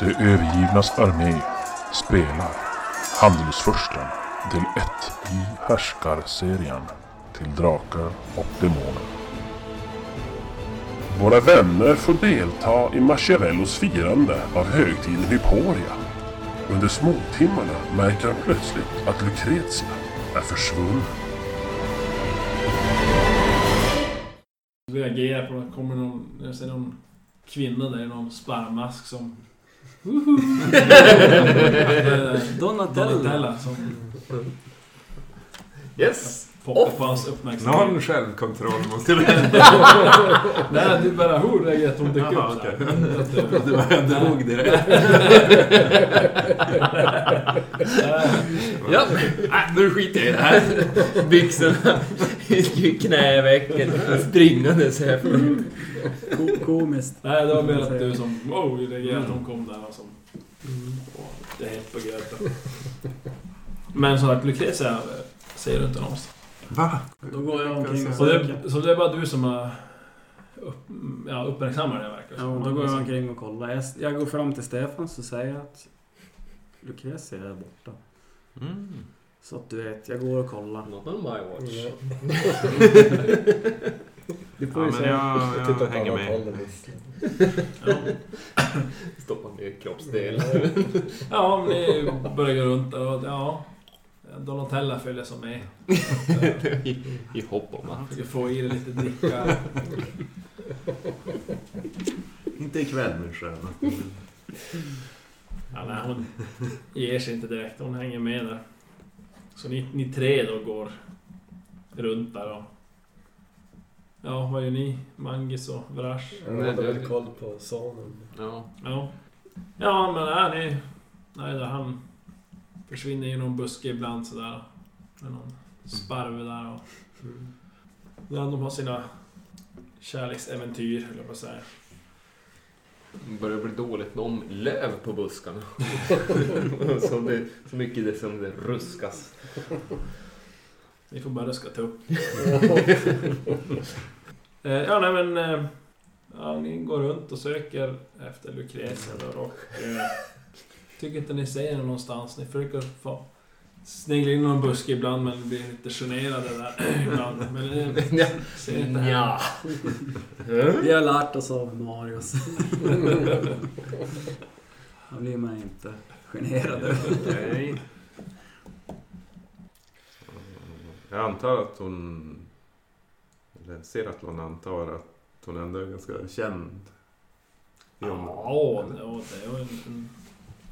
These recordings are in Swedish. Det övergivnas armé spelar Handelsfursten del 1 i Härskarserien till Drakar och Demoner. Våra vänner får delta i Machiavellos firande av högtiden Hyporia. Under småtimmarna märker han plötsligt att Lucretia är försvunnen. reagerar på det. Kommer någon, jag ser någon kvinna där i någon sparvmask som... Donatella. Donatella som Yes! pockar på hans uppmärksamhet. Mm. Någon självkontroll måste det Nej, det är bara hur reagerar att hon dök Jaha, upp så här. Att, vara. Du bara drog direkt. eh, Ja, äh, nu skiter jag i det här. Byxorna gick knävecken springandes här. Ko- Komiskt. Nej, det var mer att Mm. du som wow, reagerade att hon kom där och som... Åh, Det är helt på gröten. Men som sagt, Lucretia eh, säger du inte någonstans. Va? Då går jag omkring och Så söker. det, så det är bara du som har upp, ja, uppmärksammar det verkar Ja, och då går jag omkring och kollar. Jag, jag går fram till Stefan så säger jag att Lucrezia är borta. Mm. Så att du vet, jag går och kollar. Not on my watch. Du Ja, men jag, jag hänger med. Stoppa ner kroppsdel. Ja, om ni börjar gå runt där och ja... Donatella följer som med. I, I hopp om att... Försöker få i dig lite dricka. Inte ikväll min sköna. Ja, nej, hon ger sig inte direkt. Hon hänger med där. Så ni, ni tre då går runt där och... Ja, vad gör ni? Mangis och Vrash? Nej, Jag hade det- väl koll på sonen. Ja. Ja. Ja, men är ni... Nej, där han försvinner i någon buske ibland sådär. Med någon sparve där och... När de har sina kärleksäventyr, höll jag på att säga. Det börjar bli dåligt om löv på buskarna. så, det, så mycket det som det ruskas. Ni får bara ruska tupp. Eh, ja, nej men... eh, Ja, ni går runt och söker efter Lucretia där och... eh, Tycker inte ni ser henne någonstans. Ni försöker få... Snegla in i någon buske ibland men blir lite generade där ibland. Men eh, ser inte henne. Ja. Vi har lärt oss av Marius. Då blir man inte generad över. Nej. Jag antar att hon... Eller ser att hon antar att hon ändå är ganska känd. i Ja, området. det var- det var en, en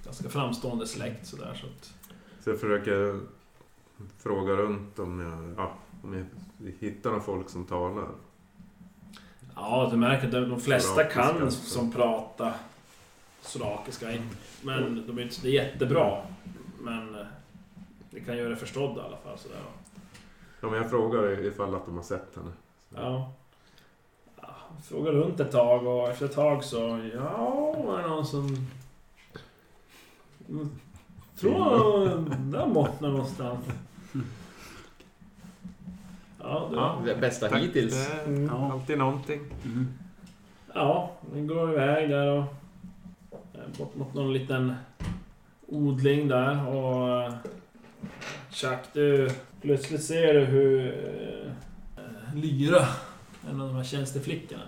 ganska framstående släkt sådär. Så att, Så jag försöker fråga runt om jag, ja, om jag hittar någon folk som talar. ja, du märker att de flesta kan Surakiska. som pratar surakiska. inte- Men de är inte det är jättebra. Men eh, det kan göra det förstådda i alla fall. Sådär. Ja, men jag frågar ifall att de har sett henne. Ja. Ja, Frågar runt ett tag och efter ett tag så, ja, var det någon som... Mm, Tror den där bottnar någonstans. Ja, det Ja. Det bästa Tack. hittills. Det är Ja. Alltid någonting. Mm. Ja, den går iväg där och... eh, Bort mot någon liten odling där och... eh, Chuck, du... Plötsligt ser du hur... eh, Lyra, en av de här tjänsteflickorna.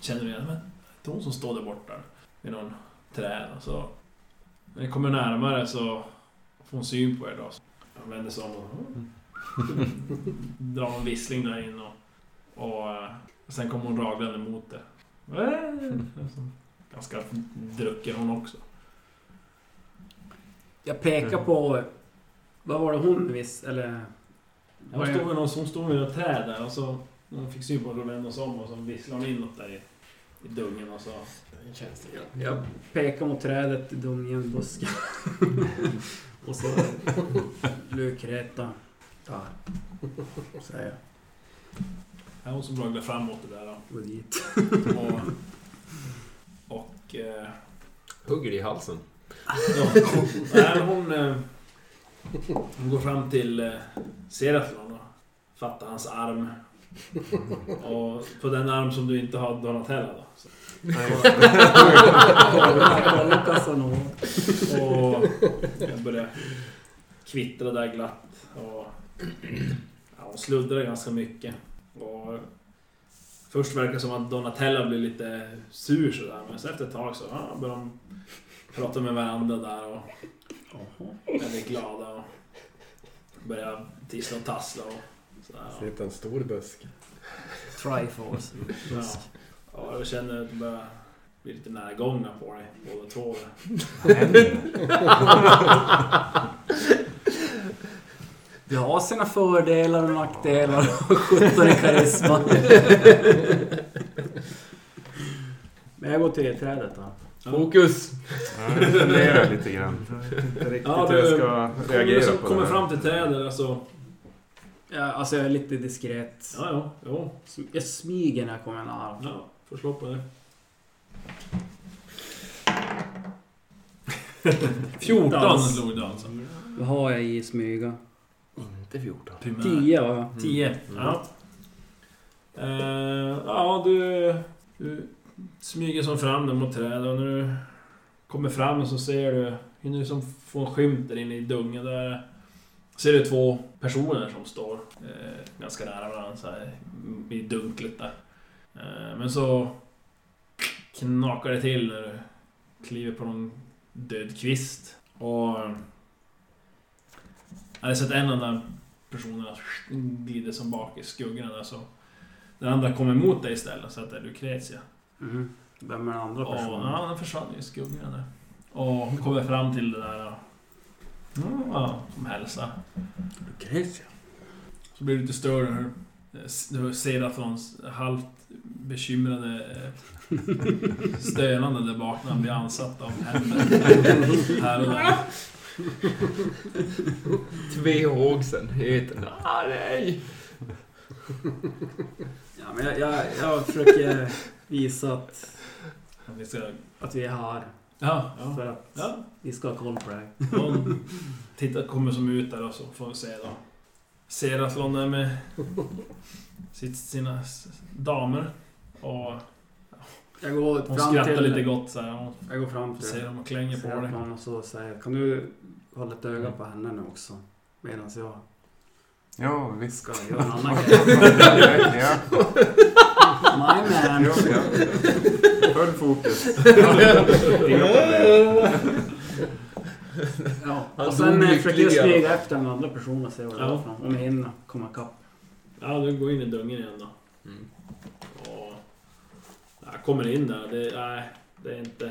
Känner du igen men Det är hon som står där borta. Vid någon träd och så... När ni kommer närmare så får hon syn på er då. Så Hon vänder sig om och... drar en vissling där in och... och eh, sen kommer hon raglande mot er. Ganska drucken hon också. Jag pekar på... Vad var det hon visst, eller... Hon stod vid någon, hon stod vid något träd där och så när hon fick syn på det vände hon sig om och så visslade hon inåt där i, i dungen och så... Känns det Jag pekar mot trädet i dungen, busken. och så... Lukreta. Där. Säger jag. Här hon som raglade framåt det där då. Gå dit. och... Och... Eh, Hugger i halsen. ja, nej, hon, eh, hon går fram till eh, Seraflon och fattar hans arm. Och på den arm som du inte har Donatella då. Så. Kolla Casanova. Och jag började kvittra där glatt. Och, ja, hon sluddrade ganska mycket. Och, först verkar det som att Donatella blev lite sur sådär. Men sen efter ett tag så ja, började de prata med varandra där och väldigt glada. Och började tissla och tassla och sådär. Sitter en stor busk. Triforce. Ja. Ja, jag känner att det börjar bli lite närgångna på dig båda två. där. Det har sina fördelar och nackdelar. 17 i karisma. Men jag går till trädet då. Fokus! Jag funderar lite grann. Jag vet inte riktigt Ja, hur du- jag ska Kommer du reagera så- på kommer det här. fram till trädet alltså. Ja, alltså jag är lite diskret. Ja, ja, jo. Sm- Jag smyger när jag kommer nära. Ja, får slå på det. 14 slog du alltså. Vad har jag i smyga? Inte 14. Primär. 10 har jag. 10. Ja. Eh, ja, du, du smyger som fram där mot trädet och när du kommer fram så ser du, hinner du som få en skymt där inne i dungen där. Ser du två personer som står eh, ganska nära varandra så här, i dunklet där. Eh, men så knakar det till när du kliver på någon död kvist. Och... eh, Jag hade sett en av de där personerna glider som bak i skuggorna där så... Den andra kommer mot dig istället så att det är Lucretia. Mhm. Vem är den andra Och, personen? ja, den försvann ju i skuggorna där. Och hon kommer fram till det där... och- Ja, som hälsar. Lucretia. Så blir du lite störd när du- eh, du ser att hon halvt bekymrade eh, stönande där bak när han blir ansatt av händer. Här och där. Tvehågsen heter den. Ah, nej! Ja, men jag, jag, jag försöker visa att, Att vi ska... att vi är här. Ja, ja. För att ja. vi ska ha koll på det här. Någon tittar, kommer som ut där och så får vi se då. Seraflon är med sitt, sina s- damer. Och Jag går hon fram skrattar till... lite gott så här. Hon Jag går fram till... ser dem och klänger på Ser att dig. Mm. man och så säger Kan du hålla ett öga på henne nu också? Medan jag Ja, visst. ska göra en annan Ja, grej. ja. My man! Ja, ja. Full fokus. Ja. Han Och sen dog eh, försöker jag lycklig i alla smyga efter den andra personen och se vad det Ja. var för någon. Om jag hinner komma ikapp. Ja, du går in i dungen igen då. Mm. Och jag kommer in där. Det, nej, det är inte...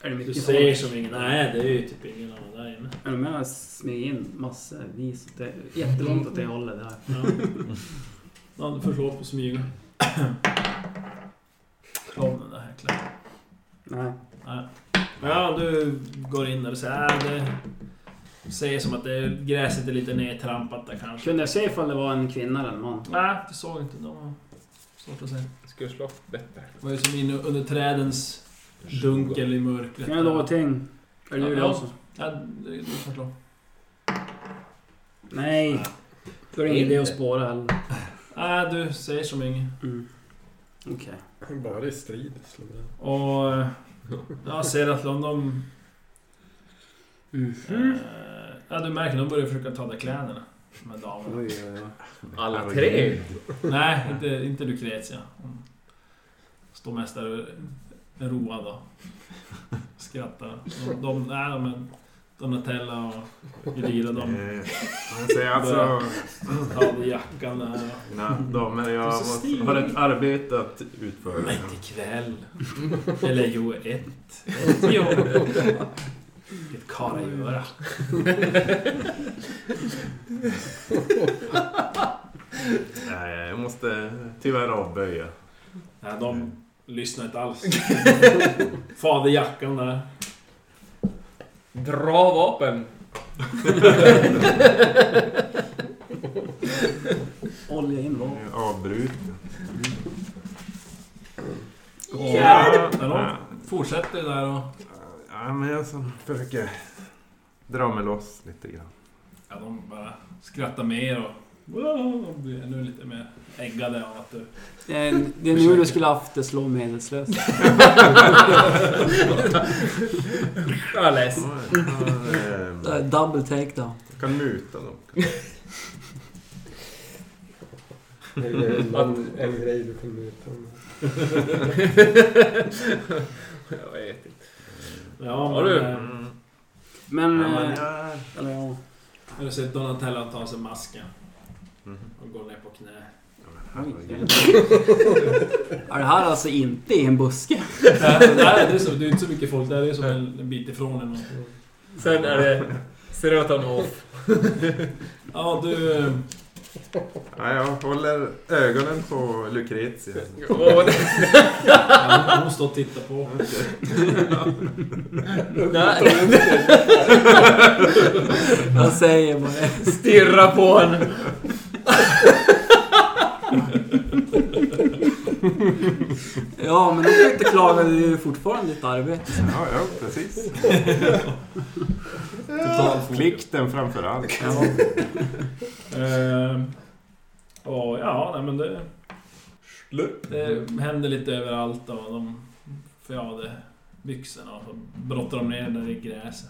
Är det Du mycket ser folk? som ingen... Nej, det är ju typ ingen annan där inne. Jag menar smyga in massvis. åt Det jättelångt åt det hållet där. Ja. Ja, du får slå på smyga. Klart den där häcklaren. Nej. Ja, du går in där och säger äh, det... Du säger som att det, gräset är lite nedtrampat där kanske. Kunde jag se ifall det var en kvinna eller en man? Nej, du såg inte. De var svårt att se. Ska jag slå bättre? Det var ju som inne under trädens dunkel i mörkret. Kan jag lova ting? Eller Ja, du det ja. också? Ja, du får slå. Nej. Då är det ingen idé att spåra heller. Nej, du säger som inget. Mm. Okej. Bara i strid slår jag. Och... eh, Jag ser att de... de Mhm. Mm. eh, ja, du märker. De börjar försöka ta av dig kläderna. De här damerna. Oj, oj, oj. Alla tre? Nej, inte, inte Lucretia. Hon står mest där och är road och skrattar. De, de, nej, de är Donatella och Elira, de Eh, Jag säger alltså... tar av dig jackan där. och- Nej, damer, jag Du är så måste, stil. har ett arbete att utföra. Men inte ikväll. Eller jo, eh. ett. Ett jobb. Ett karlagöra. Nej, jag måste tyvärr avböja. Nej, de lyssnar inte alls. Fader jackan där. Dra vapen! Olja in vapen. Eh, Avbruten. Hjälp! Ja, Ja, Fortsätter där och... Ja, men jag som försöker dra mig loss lite grann. Ja, de bara skrattar mer och Wow, blir ännu lite mer äggade av att du... Det är, det är nu du skulle haft det slå medelslöst. Jag är less. Ja, jag kan, ehm, Det är Double take down. jag kan muta dem. Det är en, annan- en grej du kan muta. med. jag vet inte. Ja, Ja, men... du. eh, Men... Ja, men eh, jag- Eller ja. Jag har sett Donatello ta av sig masken Mhm. och gå ner på knä. Herregud. Är det här alltså inte i en buske? Där, där, det, är så, det är inte så mycket folk där, det är som en, en bit ifrån en. Sen är det... Ser du att han har off? Ja, du... eh, Ja, jag håller ögonen på Lucrezia. Åh, Ja, hon- hon står och tittar på. nej. Jag säger bara det. Stirra på honom. Ja, men de kan ju inte klaga. Det är ju fortfarande ditt arbete. Ja, ja precis. Total fokus. Plikten framför allt. Ja. Eh, och ja, nej, men det... Det händer lite överallt och de förjade byxorna och så brottar de ner den där i gräset.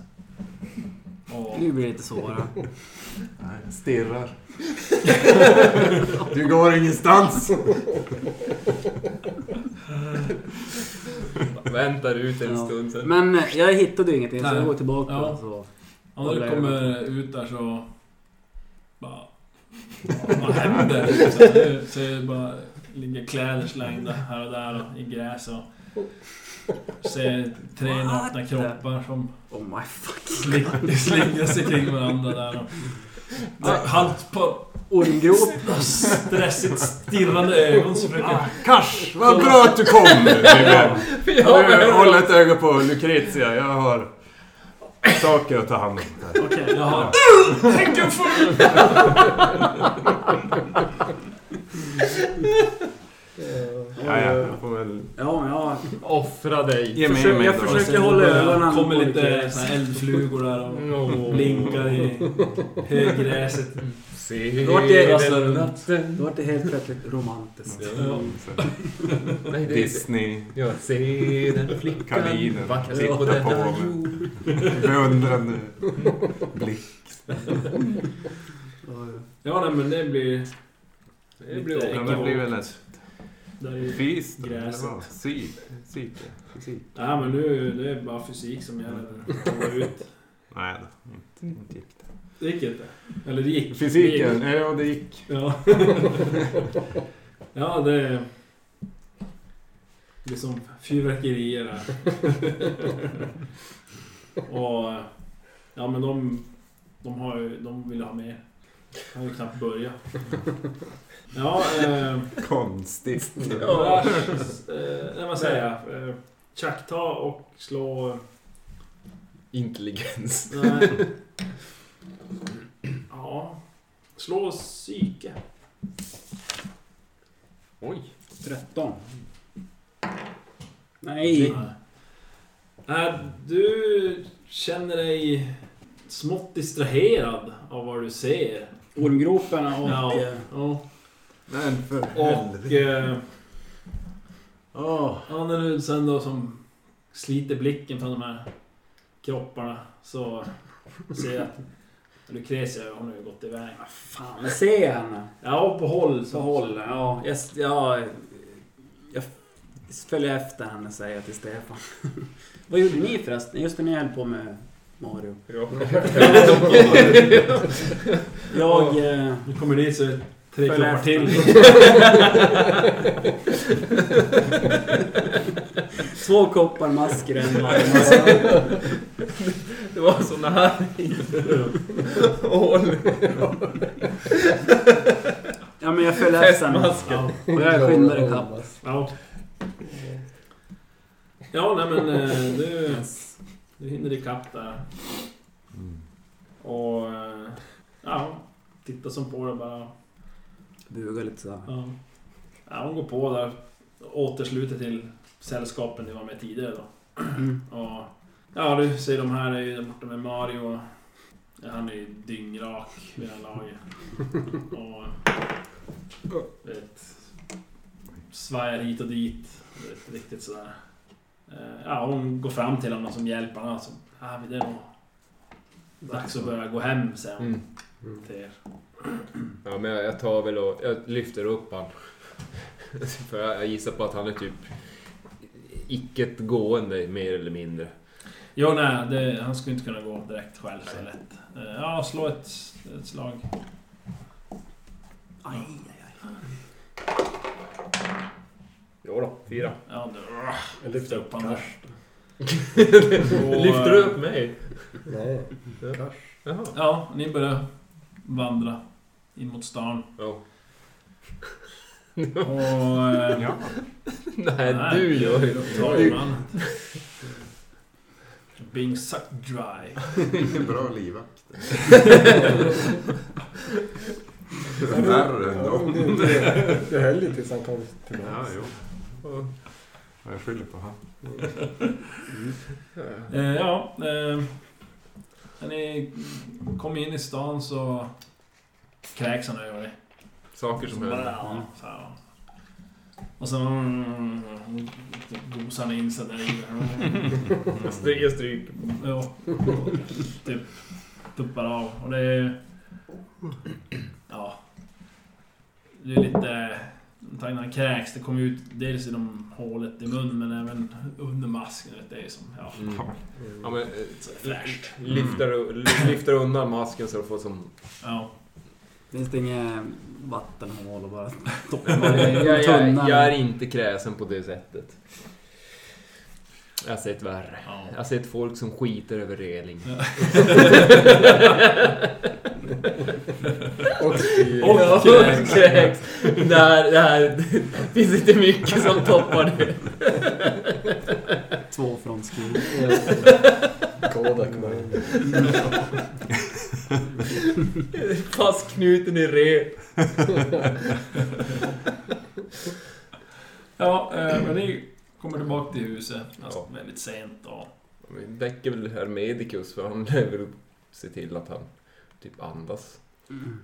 Och... Nu blir det inte så bara. Nej, jag stirrar. Du går ingenstans! Väntar ut en Ja. stund sen. Men eh, jag hittade ju ingenting så Nej. jag går tillbaka. Ja. Så. Ja, när du kommer ut där så... Bara... Vad händer? Så det- Så det bara ligger kläder slängda här och där och i gräs och... Ser tre nakna kroppar som Oh my fuck. slick- slingrar sig kring varandra där och... Med Halvt på Ormgrop. stressigt stirrande ögon så försöker... Kars, vad bra att du kom! Jag Ja, håller ett öga på Lucrezia. Jag har saker att ta hand om. här. Jag har... Ja, Eh, ja, jag får väl... Ja, ja. Offra dig. Ge mig Försök- mig jag då. försöker- Försöker hålla ögonen kommer på lite gräs. så här eldflugor där och Åh. blinkar i höggräset. Se Vart är- den Då natten. vart det helt plötsligt romantiskt. Ja. Nej, det är Disney, Ja, se den flickan. Kaninen. Vacker Titta på denna på mig. jord. beundrande blick. Ja, nej, men det blir... Det blir Ja, det blir väl ett Där är ju- fis då, eller Gräset. vad? Sy- Psyke? Fysik? Nej, men nu det är bara fysik som gäller. Det var ut. Nej då, inte, inte gick det. Det gick inte. Eller det gick. Det Fysiken, gick. eh, ja det gick. Ja. ja, det... Det är som fyrverkerier här. Och... Ja, men de... De, har ju, de vill ha med. De har ju knappt börjat. Ja, eh... Konstigt. Ja, eh, nej, vad säger jag? Eh, Chuck, ta och slå... Intelligens. Nej. Ja. Slå psyke. Oj. 13. Nej. Nej, du känner dig smått distraherad av vad du ser. Ormgroparna och... Ja. eh, Ja. Men för Och... helvete. Eh, Åh, ja, när du sen då som sliter blicken från de här kropparna så ser jag att Lucrezia hon har ju gått iväg. vad Fan, jag ser henne. Ja, på håll. Så håller ja. Jag, ja, jag följer efter henne säger jag till Stefan. Vad gjorde ni förresten? Just när ni höll på med Mario. Jag... Eh, Nu kommer det så är det tre Följ kroppar efter. till. två koppar masker en varm. Det var såna här hål. Ja men jag följer efter henne. Ja. Och jag skyndar ikapp. Ja. Ja, nej men eh, du, du hinner ikapp där. Och... eh, Ja, titta som på det bara. Bugar lite såhär. Ja. ja, hon går på där. Återsluter till sällskapen ni var med tidigare då. Mm. Och, ja, du ser de här är ju där borta med Mario och Ja, han är ju dyngrak vid det här laget. Och... Vet, svajar hit och dit. Vet, riktigt sådär. Eh, Ja, hon går fram till honom som hjälper honom. Alltså, ah, det är nog dags att börja gå hem, säger hon Mm. till er. Ja, men jag, jag tar väl och jag lyfter upp han. För jag, jag gissar på att han är typ icket gående mer eller mindre. Jo, nej, det, han skulle inte kunna gå direkt själv så lätt. Eh, Ja, slå ett, ett slag. Aj, aj, aj. Jo då, fyra. Ja, du, Jag lyfter upp Fan. Kars. Lyfter du upp mig? Nej, Kars. Jaha. ja, ni börjar vandra in mot stan. Ja. Och... eh, Nej, du gör ju ju Being sucked dry. Bra livvakt. Värre än Ja, dem. det, det, det höll ju tills han kom Ja, tillbaka. jo. Ja, jag skyller på han. Eh, ja, eh, när ni kommer in i stan så kräks han över dig. saker som händer. Ja, så här. Och sen mm, gosar han in sig där Jag stry- Jag stryker. Ja, och typ tuppar av. Och det är... Ja. Det är lite... Tack när han kräks, det kommer ut dels genom hålet i munnen men även under masken. vet du, Det är som... Ja. Mm. Ja, men, eh, Flasht. lyfter, lyfter undan masken så du får som... Ja. Finns det inget vattenhål och bara toppa Jag, jag, jag, tunnan? jag är inte kräsen på det sättet. Jag har sett värre. ja. Jag har sett folk som skiter över reling. Och Ja, kräks. kräks. Det här, det här... Det finns inte mycket som toppar det. Två från skrin. Kodak var det. Fastknuten i rev. Ja, eh, men ni kommer tillbaka till huset alltså, Ja. väldigt sent. Och, Vi väcker väl Hermedicus för han lär väl se till att han typ andas.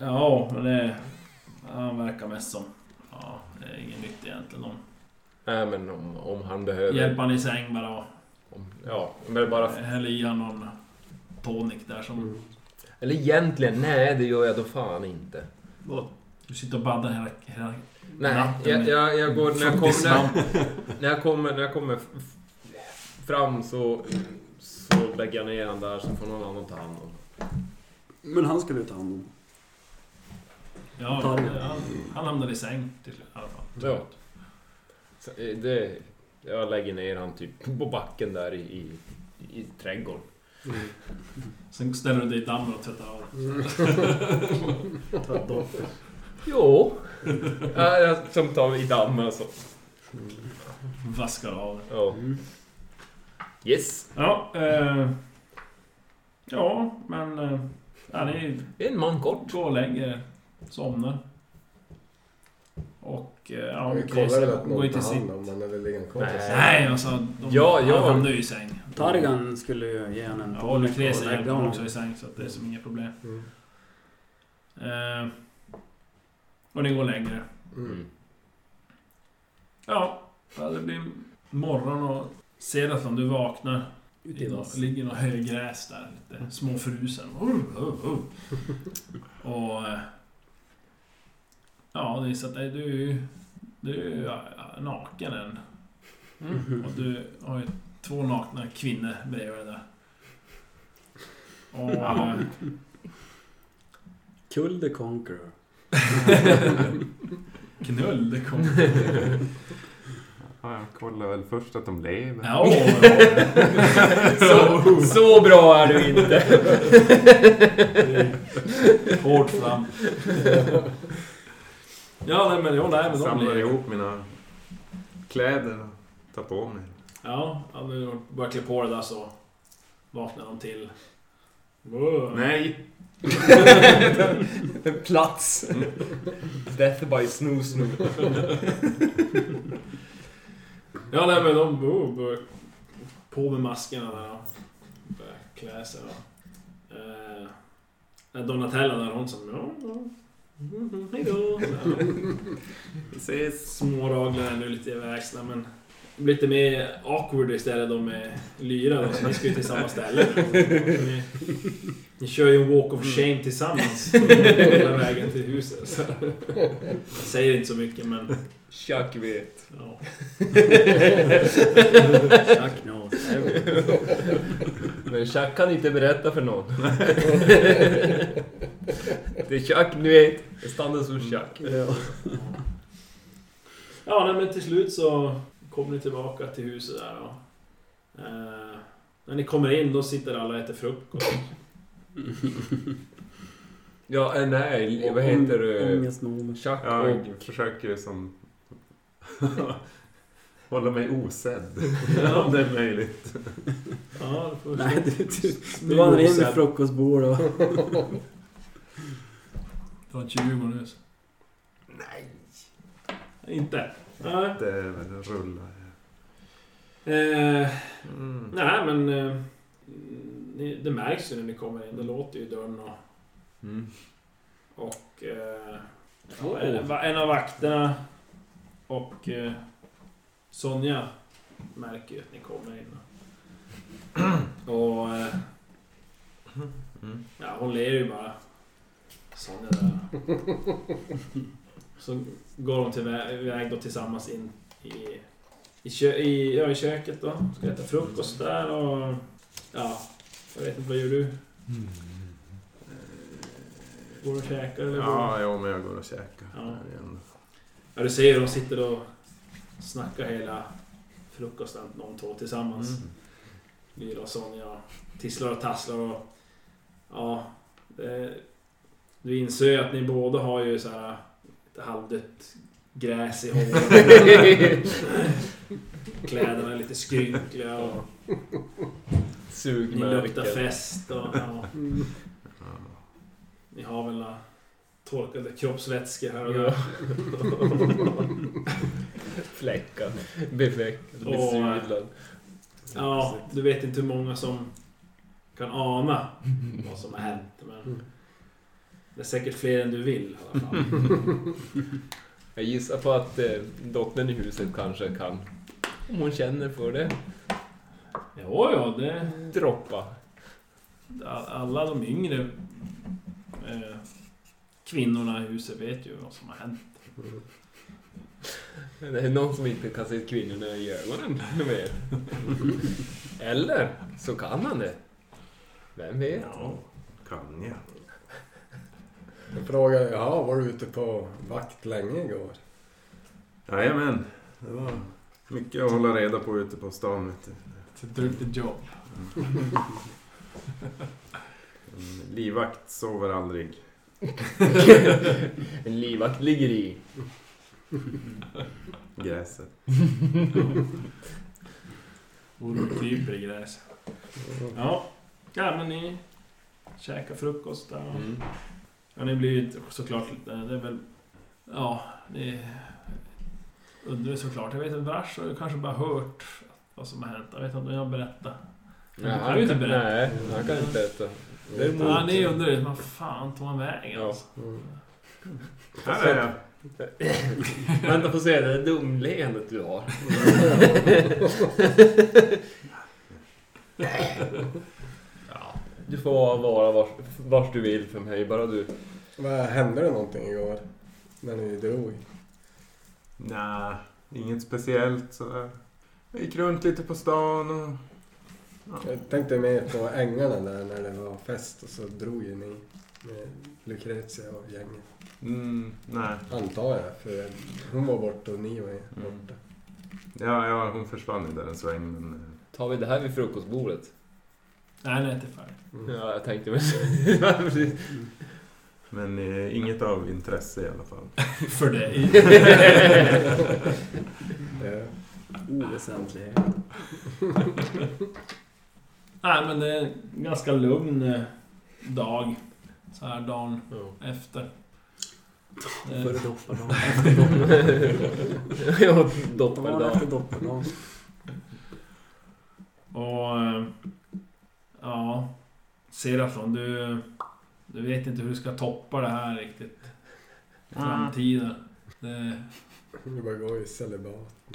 ja, men det... Han verkar mest som... Ja, det är ingen nytt egentligen. Nej men om, om De han behöver... hjälper han i säng bara och Om, ja, men bara... häller i han någon tonic där som... Eller egentligen, nej det gör jag då fan inte. Du sitter och baddar hela, hela Nej, natten jag, med- jag, jag går... När jag kommer... När, Svamp. när jag kommer, när jag kommer f- f- fram så... Så lägger jag ner han där så får någon annan ta hand om. Men han ska vi ta hand om. Ja, Tar du? han, han hamnar i säng till slut i alla fall. Ja. Så, eh, det, jag lägger ner han typ på backen där i, i, i trädgården. Sen ställer du dig i dammen och tvättar av dig. Mm. Jo. ja, jag, som tar i dammen och så. Vaskar av dig. Ja. Yes. Ja, eh, ja men... Eh, ja, ni En man kort. går och lägger er, Somnar. Och... Eh, ja, Vi kollar väl att någon tar hand om den eller ligger en kompis. Nej. Nej, alltså... De, Ja, ja. Han hamnar ju i säng. Targan skulle ju ge honom en Ja, och Lucrezia och hjälper lägga honom honom. också i säng så att det är som inga problem. Mm. Eh, och ni går längre. Mm. Ja, ja, det blir morgon och ser att om du vaknar. Ut i i nå- vass. ligger något höggräs där. Lite småfrusen. Uh, uh, uh. och... eh, Ja, det är så att eh, du är ju... Du är ju eh, naken än. Mm. Mm. Och du har ju två nakna kvinnor bredvid dig där. Och... eh, Kull the Conqueror. Knull, det kom. Ja, jag kollar väl först att de lever. Ja, ja. Så, så bra är du inte. hårt fram. Ja, nej men, jo, nej, men de Samlar lever. ihop mina kläder och tar på mig. Ja, om du börjar klä på det där så vaknar de till. Wow. Nej! Plats. Death by snoo snoo. Ja, nej men de oh, börjar på med maskerna där och börjar klä sig. Och, eh, Donatella där hon som... Ja, ja. Mm, Hejdå. Ja. Vi ses! Småraglarna är nu lite överlägsna men... Det blir lite mer awkward istället då med Lyra då, så ni ska ju till samma ställe. Ni, ni kör ju en walk of shame tillsammans. Hela vägen till huset. Så. Jag säger inte så mycket men... Chuck vet. Ja. Chuck knows. Men Chuck kan inte berätta för någon. Det är Chuck, ni vet. Det stannar som Mm. Chuck. Ja, nej, men till slut så kom ni tillbaka till huset där och... Eh, när ni kommer in då sitter alla och äter frukost. Ja, eh, nej, vad heter eh, du? Ångestnormer. Chuck och... Jag försöker som... Hålla mig osedd. Ja. Om det är möjligt. Ja, det får vi se. Nej, du, du, du vandrar in Snygg med frukostbord och... Du har 20 nu. Nej! Inte? Nej. Det är väl rulla. Eh, Mm. nej, men... Eh, ni- det märks ju när ni kommer in. Det låter ju i dörren och... Mm. och eh, ja, en, en av vakterna och eh, Sonja märker ju att ni kommer in. Och... Eh, Mm. Ja, hon ler ju bara. Sonja där. Så går de tillvä- iväg då tillsammans in i, i, kö, i, ja, i köket då. Ska äta frukost där och... Ja, jag vet inte, vad gör du? Går du och käkar eller? går Ja, jo, men jag går och käkar. Ja. här igen. Ja, du ser ju de sitter och snackar hela frukosten, de två Mm. tillsammans. Lyra och Sonja tisslar och tasslar och... Ja, det, du inser ju att ni båda har ju så här lite halvdött gräs i håret. Kläderna är lite skrynkliga och ni luktar Sugmärken. fest och... Ja, ni har väl några torkade kroppsvätskor här och där. Fläckad. Befläckad. Åh. Besudlad. Ja, du vet inte hur många som kan ana vad som har hänt. Men det är säkert fler än du vill i alla fall. Jag gissar på att eh, dottern i huset kanske kan, om hon känner för det, Jo, ja, det... droppa. all- Alla de yngre eh, kvinnorna i huset vet ju vad som har hänt. Det är någon som inte kan se kvinnorna i ögonen mer. Eller så kan han det. Vem vet? Ja, kan jag. Jag frågade, ja var du ute på vakt länge igår? Jajamän. Det var mycket att hålla reda på ute på stan. Vet du. It's a dirty job. En livvakt sover aldrig. En livvakt ligger i. Gräset. Och de kryper i gräset. Ja. ja, men ni käkar frukost där. och- Mm. Ja, ni blir ju inte- såklart lite... Det är väl... Ja, ni undrar såklart. Jag vet inte, Brash har ju kanske bara hört vad som har hänt. Jag vet inte om jag berättar. Nej, Han kan ju inte berätta. Nej, han kan inte berätta. Däremot- Ja, ni undrar ju, vad fan tog han vägen? Ja. Alltså? Här är jag. Vänta får se, det där dumleendet du har. ja, du får vara vars, vars du vill för mig, bara du. Vad Hände det någonting igår? När ni drog? Nej, inget speciellt sådär. Jag gick runt lite på stan och... Ja. Jag tänkte mer på ängarna där när det var fest och så drog ju ni med Lucrezia och gänget. Mm, nej. Mm. Antar jag, för hon var borta och ni var borta. Ja, ja, hon försvann ju där en sväng men... eh, Tar vi det här vid frukostbordet? Nej, nej, inte färdigt. Mm. Ja, jag tänkte väl Ja, precis. Men eh, inget av intresse i alla fall. För dig. Ja. Oväsentlighet. Nej, men det är en ganska lugn eh, dag. Så här dagen efter. Eh, Före doppardagen. Efter doppardagen. Ja, Dagen doppeldag. efter doppardagen. Och... eh, Ja... Serafon, du... Du vet inte hur du ska toppa det här riktigt. I framtiden. Det, Du bara går i celibat.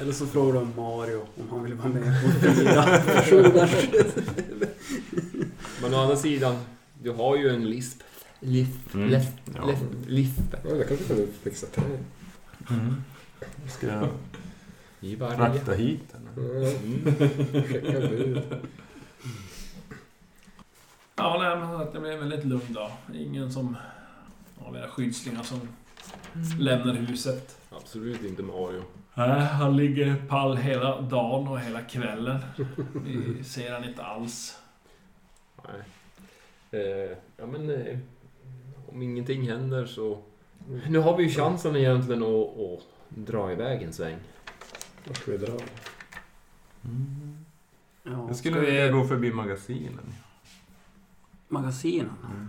Eller så frågar du om Mario om han vill vara med på fyra personers... Men å andra sidan, du har ju en lisp. Lisp. Mm. Lisp. Ja. lisp, lisp. Ja, det kanske kan du fixa till. Mm. Ska jag I varje. frakta hit henne? Mm. Ja, Skicka bud. ja, nej, men som sagt, det blev en väldigt lugn dag. Ingen som av era skyddslingar som lämnar huset. Absolut inte Mario. Nej, han ligger pall hela dagen och hela kvällen. Vi ser han inte alls. Nej. Eh, ja men eh, om ingenting händer så... Nu har vi ju chansen egentligen att, att dra iväg en sväng. Vart ska vi dra? Ja, Jag skulle vilja gå förbi magasinen. magasinen. Mm.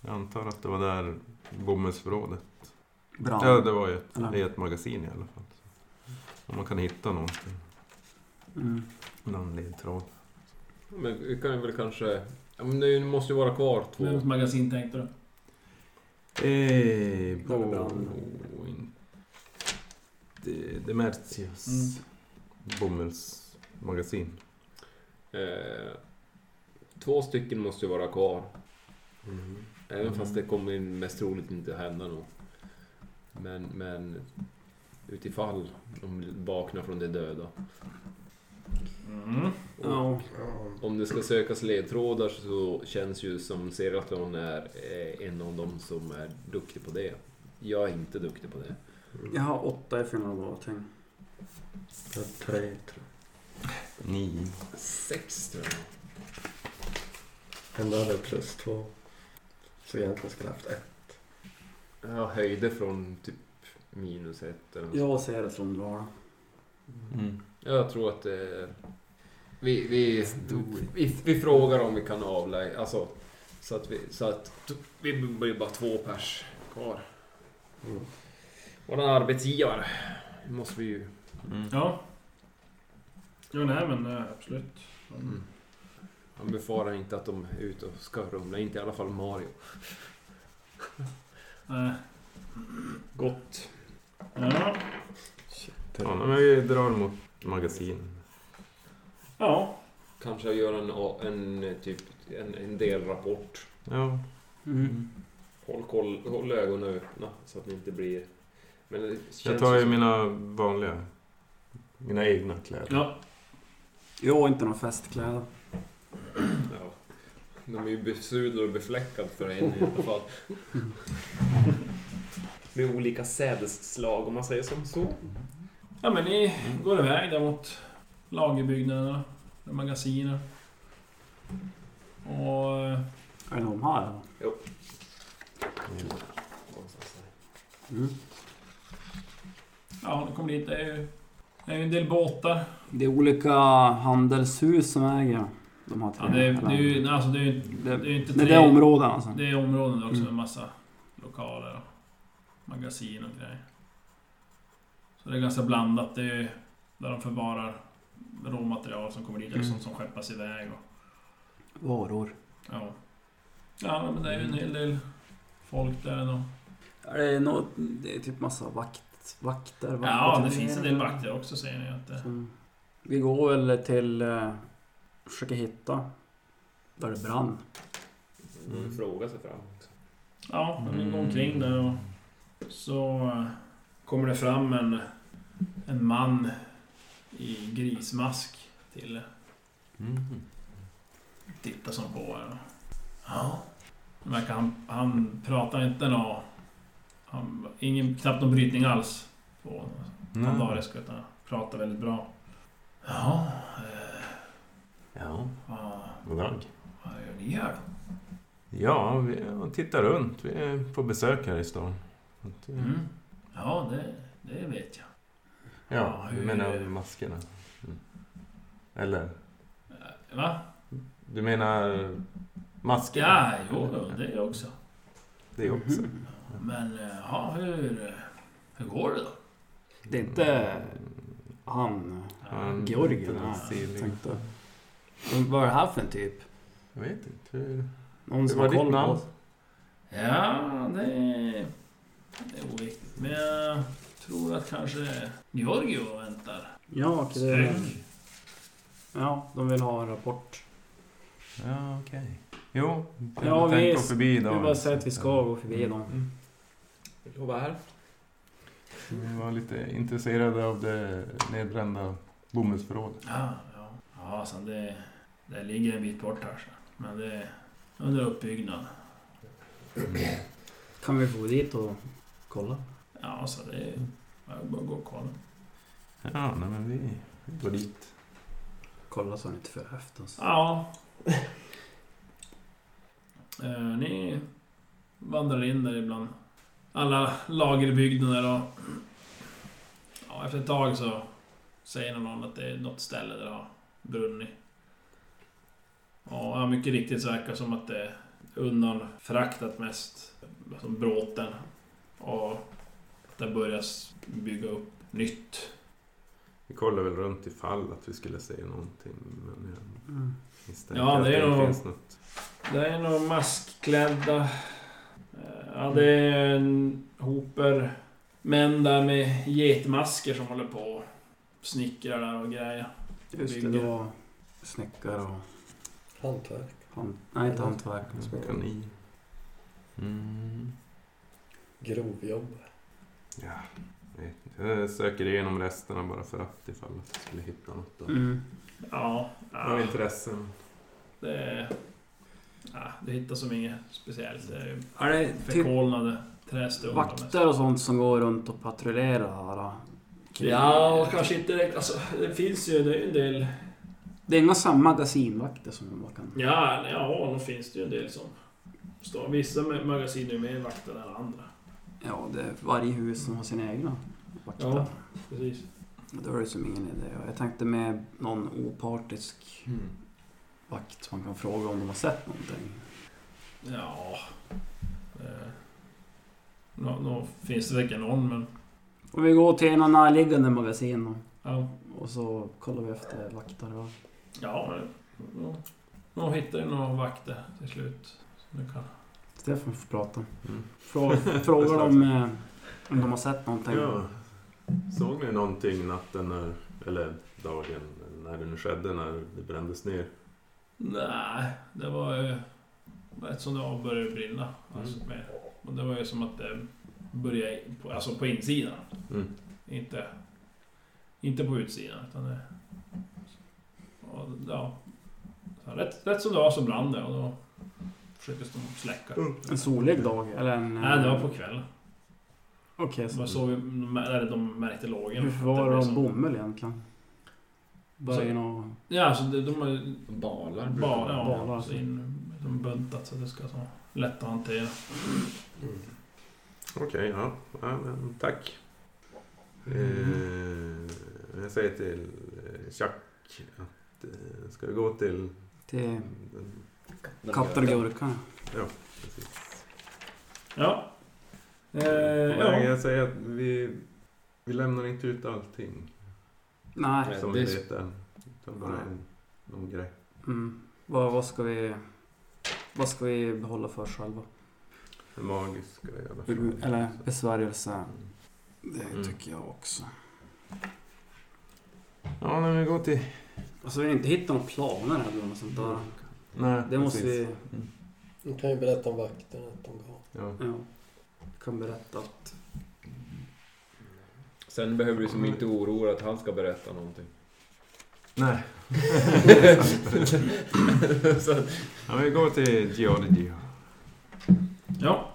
Jag antar att det var där bomullsförrådet. Bra. Ja, det var ju ett, Eller- det är ett magasin i alla fall. Om man kan hitta någonting. Mm. Någon ledtråd. Men vi kan ju väl kanske... Ja, men det måste ju vara kvar två. Vems magasin tänkte du? Eh, Eller på... brand. De, Demertius Mm. bomullsmagasin. Eh, två stycken måste ju vara kvar. Även Mm. fast det kommer mest troligt inte hända något. Men, men utifall de vaknar från de döda. Mm. Och Ja, Ja, Om det ska sökas ledtrådar så känns ju som Seratlon är eh, en av dem som är duktig på det. Jag är inte duktig på det. jag har åtta i finaldating. jag har tre tror Nio. Sex tror jag. jag. Ändå hade jag plus två. Så egentligen skulle jag haft ett. Jag höjde från typ minus ett eller något Jag ser det som bra. Mm. Jag tror att eh, vi, vi, vi, vi frågar om vi kan avlägga, alltså så att vi, så att vi blir bara två pers kvar. Mm. Våran arbetsgivare måste vi ju. Mm. Ja. Jo, nej men eh, absolut. Mm. Han befarar inte att de är ute och ska rumla, inte i alla fall Mario. Nej. Gott. Ja. Ja, men vi drar mot magasin. Ja. Kanske göra en, en typ en, en delrapport. Ja, Mm. Håll, koll, håll ögonen öppna så att ni inte blir... Men det känns jag tar ju som- mina vanliga. Mina egna kläder. ja. Jag har inte några festkläder. Ja. De är ju besudlade och befläckade för en i alla fall. Med olika sädesslag om man säger som så. Mm. Ja men ni går iväg där mot lagerbyggnaderna, med magasinen. Och... eh, Är det de här? Mm. Ja, ni kommer dit. Det är ju, det är ju en del båtar. Det är olika handelshus som äger de här tre. Ja, det, är, det, är ju, eller- nej, alltså, det, är, ju- Mm. det, det är ju inte men tre... det är områden alltså. det är områden också med Mm. massa lokaler och magasin och grejer. Så det är ganska blandat. Det är ju där de förvarar råmaterial som kommer dit, eller Mm. sånt som skeppas iväg. Och, Varor. Ja. Ja, men det är ju en hel del folk där ändå. Ja, Det är, något, det är typ massa vakt, vakter. Ja, det vakter- finns en del vakter också säger ni att det... Som- Mm. Vi går väl till... Eh, försöker hitta där det brann. Mm. Fråga sig fram. också. Ja, men ni går omkring där och... Så eh, kommer det fram en, en man i grismask till er. Mm. Tittar som på er. och- Ja. Det verkar han, han pratar inte nå... Han, ingen, knappt någon brytning alls. På Pandarisk utan pratar väldigt bra. Ja, Ja, vad, god dag. vad gör ni här då? Ja, vi ja, tittar runt. Vi är på besök här i stan. Att, eh, Mm. Ja, det, det vet jag. Ja, Eh, hur- Du menar maskerna? Mm. Eller? Eh, Va? Du menar maskerna? Ja, jo, jo, det är jag också. Det också. Mm. Men eh, ja, hur, eh, hur går det då? Det är inte han Han- eh, Georgien den här. stilig. Tänkte. Men Vad är det här för en typ? Jag vet inte. Hur... Någon Det som var har ditt koll på namn. oss. Ja, det är, det är oviktigt. Men jag tror att kanske Georgio väntar. Ja, okej. det är- Snygg. Ja, de vill ha en rapport. Ja, okej. Jo, jag Ja, tänkte vi- gå förbi Vi idag. bara säger att vi ska gå förbi dem. Mm. Vill du vara här? Mm. Vi var lite intresserade av det nedbrända bomullsförrådet. Ja, ja. ja så det, det ligger en bit bort här. Så. Men det är under uppbyggnad. Kan vi få dit och kolla? Ja, så det är jag vill bara gå och kolla. Ja, nej, men vi, vi går dit. Kolla så han inte för oss. Ja. Eh, ni vandrar in där ibland. Alla lagerbyggnader och... Ja, efter ett tag så säger någon att det är något ställe där det har brunnit. Ja, ja, mycket riktigt så verkar det som att det är undanfraktat mest. Alltså bråten. Och att det börjas bygga upp nytt. Vi kollar väl runt ifall att vi skulle se någonting. Men jag Mm. misstänker Ja, det att är det nog- inte finns något. Det är nog maskklädda. Eh, Ja, det är en hoper män där med getmasker som håller på och snickrar där och grejer. Just det, det var snickare och... Hantverk. Han, nej, inte hantverk. Kanin. Mm. Grovjobb. Ja, vet inte. Jag söker igenom resterna bara för att ifall att vi skulle hitta något. Då. Mm. Ja, Av ja intressen. det... Ja, det hittar som inget speciellt. Det är ju Är det typ förkolnade trästumpar. mest. vakter och sånt som går runt och patrullerar här? då? Ja, och kanske inte direkt. Alltså, det finns ju... Det är ju en del... Det är inga samma magasinvakter som man kan... Ja, ja, då finns det ju en del som... Står, vissa ma- magasin är ju mer vaktade än andra. Ja, det är varje hus som har sina egna vakter. Ja. Precis. Då är det som ingen idé. Jag tänkte med någon opartisk vakt som man kan fråga om de har sett någonting. Ja... Eh, Nå, nå finns det säkert någon, men... Om vi går till en närliggande magasin och, Ja, och så kollar vi efter vakter. va? ja nå, nå hittar du några vakter till slut. Så du kan... Stefan får prata. Mm. Frå, frågar dem eh, om de har sett någonting. Ja. Såg ni någonting natten när, eller dagen när det nu skedde när det brändes ner? Nej, det var ju... Rätt som det var började det brinna. Alltså, med, och det var ju som att det började på, alltså på insidan. Mm. Inte, inte på utsidan. Utan det, och, ja, så rätt, rätt som det var så brann det och då försökte de släcka. En solig dag eller en... eh, Nej, det var på kvällen. Okej, Det var så så vi, eller de märkte lågen. hur Att det var blev det om som- bomull egentligen? Böjen och... Ja, alltså de, de har Balar brukar bara ja, Balar. så in, de buntat så det ska vara lätt att hantera. Okej, ja. ja men tack. Eh, jag säger till eh, Chuck att eh, ska vi gå till... Till Den, katter och gurka. Ja. Eh, ja. Jag säger att vi, vi lämnar inte ut allting Nej. som det vi är- vet än. Utan bara Nej. en, någon grej. Mm. Vad, vad ska vi... Vad ska vi behålla för oss själva? En magisk grej i alla fall. Mm, Eller besvärjelse. Mm. Det Mm. tycker jag också. Ja, men vi går till... Alltså vi har inte hittat några planer eller något sånt där. Nej, Det måste precis. vi... Du kan ju berätta om vakterna att de gav. Ja. Ja. Kan berätta att... Sen behöver du som inte oroa dig att han ska berätta någonting. Nej. ja, men vi går till Geology. Ja.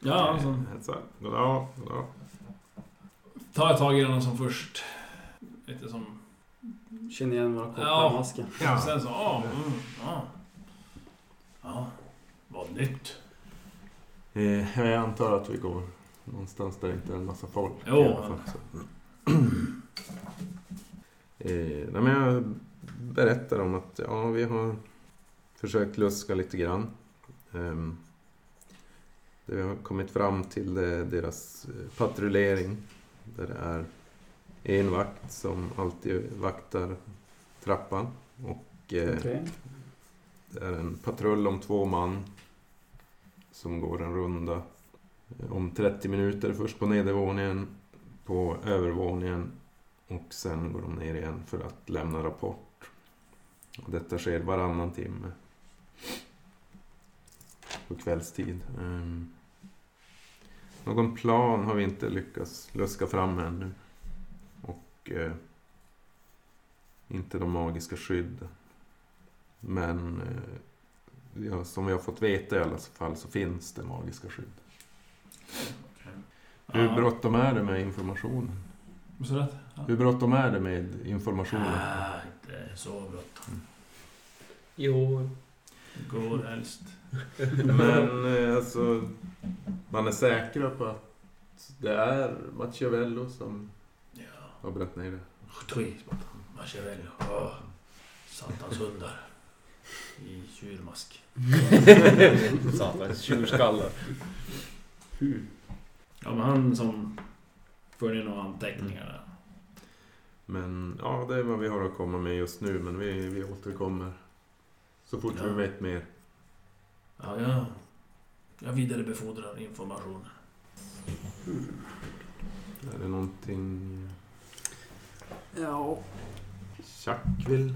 Ja, alltså. Så, goddag, goddag. Ta tag i den som först. Lite som... Känner igen våra koppar Ja. i masken. Ja. Sen så, ja, mm, ja. Ja. Vad nytt. Eh, Jag antar att vi går någonstans där det inte är en massa folk. Jo. i alla fall, så. Eh, nej, men jag berättar om att ja, vi har försökt luska lite grann. Ehm, det vi har kommit fram till det är deras eh, patrullering. Där det är en vakt som alltid vaktar trappan. Och eh, Okej. Det är en patrull om två man som går en runda om 30 minuter. Först på nedervåningen, på övervåningen och sen går de ner igen för att lämna rapport. Och detta sker varannan timme på kvällstid. Ehm, Någon plan har vi inte lyckats luska fram ännu. Och eh, inte de magiska skydden. Men eh, ja, som vi har fått veta i alla fall så finns det magiska skydd. Hur Ja. bråttom är det med informationen? Vad sa du? Ja. Hur bråttom är det med informationen? Ah, det är så bråttom. Jo. Går helst. Men eh, alltså, man är säkra på att det är Machiavello som Ja. har brett ner det. Skit. Machiavelli. Åh. Satans hundar. I tjurmask. Satans tjurskallar. Ja, men han som för ner några anteckningar där. Men ja, det är vad vi har att komma med just nu, men vi, vi återkommer så fort Ja. vi vet mer. Ja, jag, jag vidarebefordrar informationen. Är det någonting Ja, Chuck vill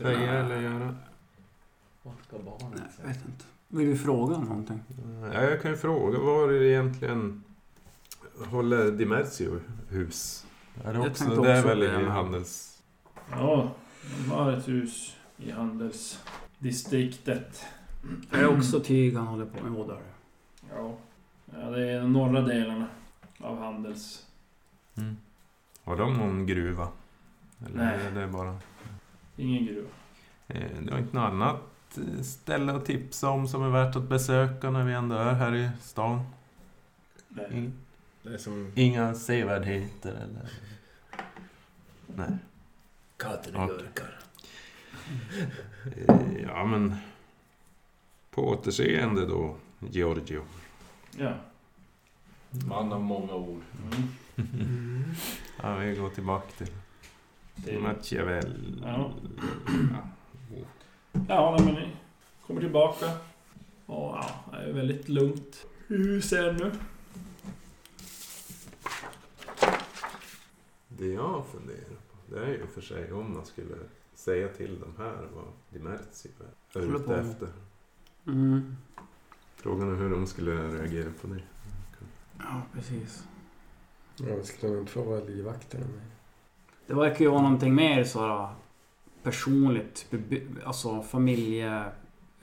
säga Nej. eller göra? Vart ska nej, barnen jag vet inte. Vill du fråga om någonting? Mm, Ja, jag kan ju fråga, var är det egentligen håller Dimersio hus? Är det, Jag också, tänkte det är också väl det, i men- handels... Ja, de har ett hus i handelsdistriktet. Är det också tyg han håller på med? Jo, det är det. Ja, ja det är den norra delen av handels... Har de någon gruva? Eller Nej. är det bara... Ingen gruva. Eh, Det var inte något annat eh, ställe att tipsa om som är värt att besöka när vi ändå är här i stan? Nej. Mm. In- Det är som... Inga sevärdheter eller... Nej. Katten och gurkar. Eh, Ja, men... På återseende då, Giorgio. Ja. Mm. Man av många ord. Mm. Mm. Ja, vi går tillbaka till Machiavelli. Ja. Ja. Ja, nej, men ni kommer tillbaka. Och ja, det är väldigt lugnt hus ännu. Det jag funderar på, det är ju för sig om man skulle säga till de här vad Dimerzio är Håller på ute med. efter. Mm. Frågan är hur de skulle reagera på det. Ja, precis. Ja, vi skulle nog inte få vara livvakterna med. Det verkar ju vara någonting mer sådär personligt, beby- alltså familje...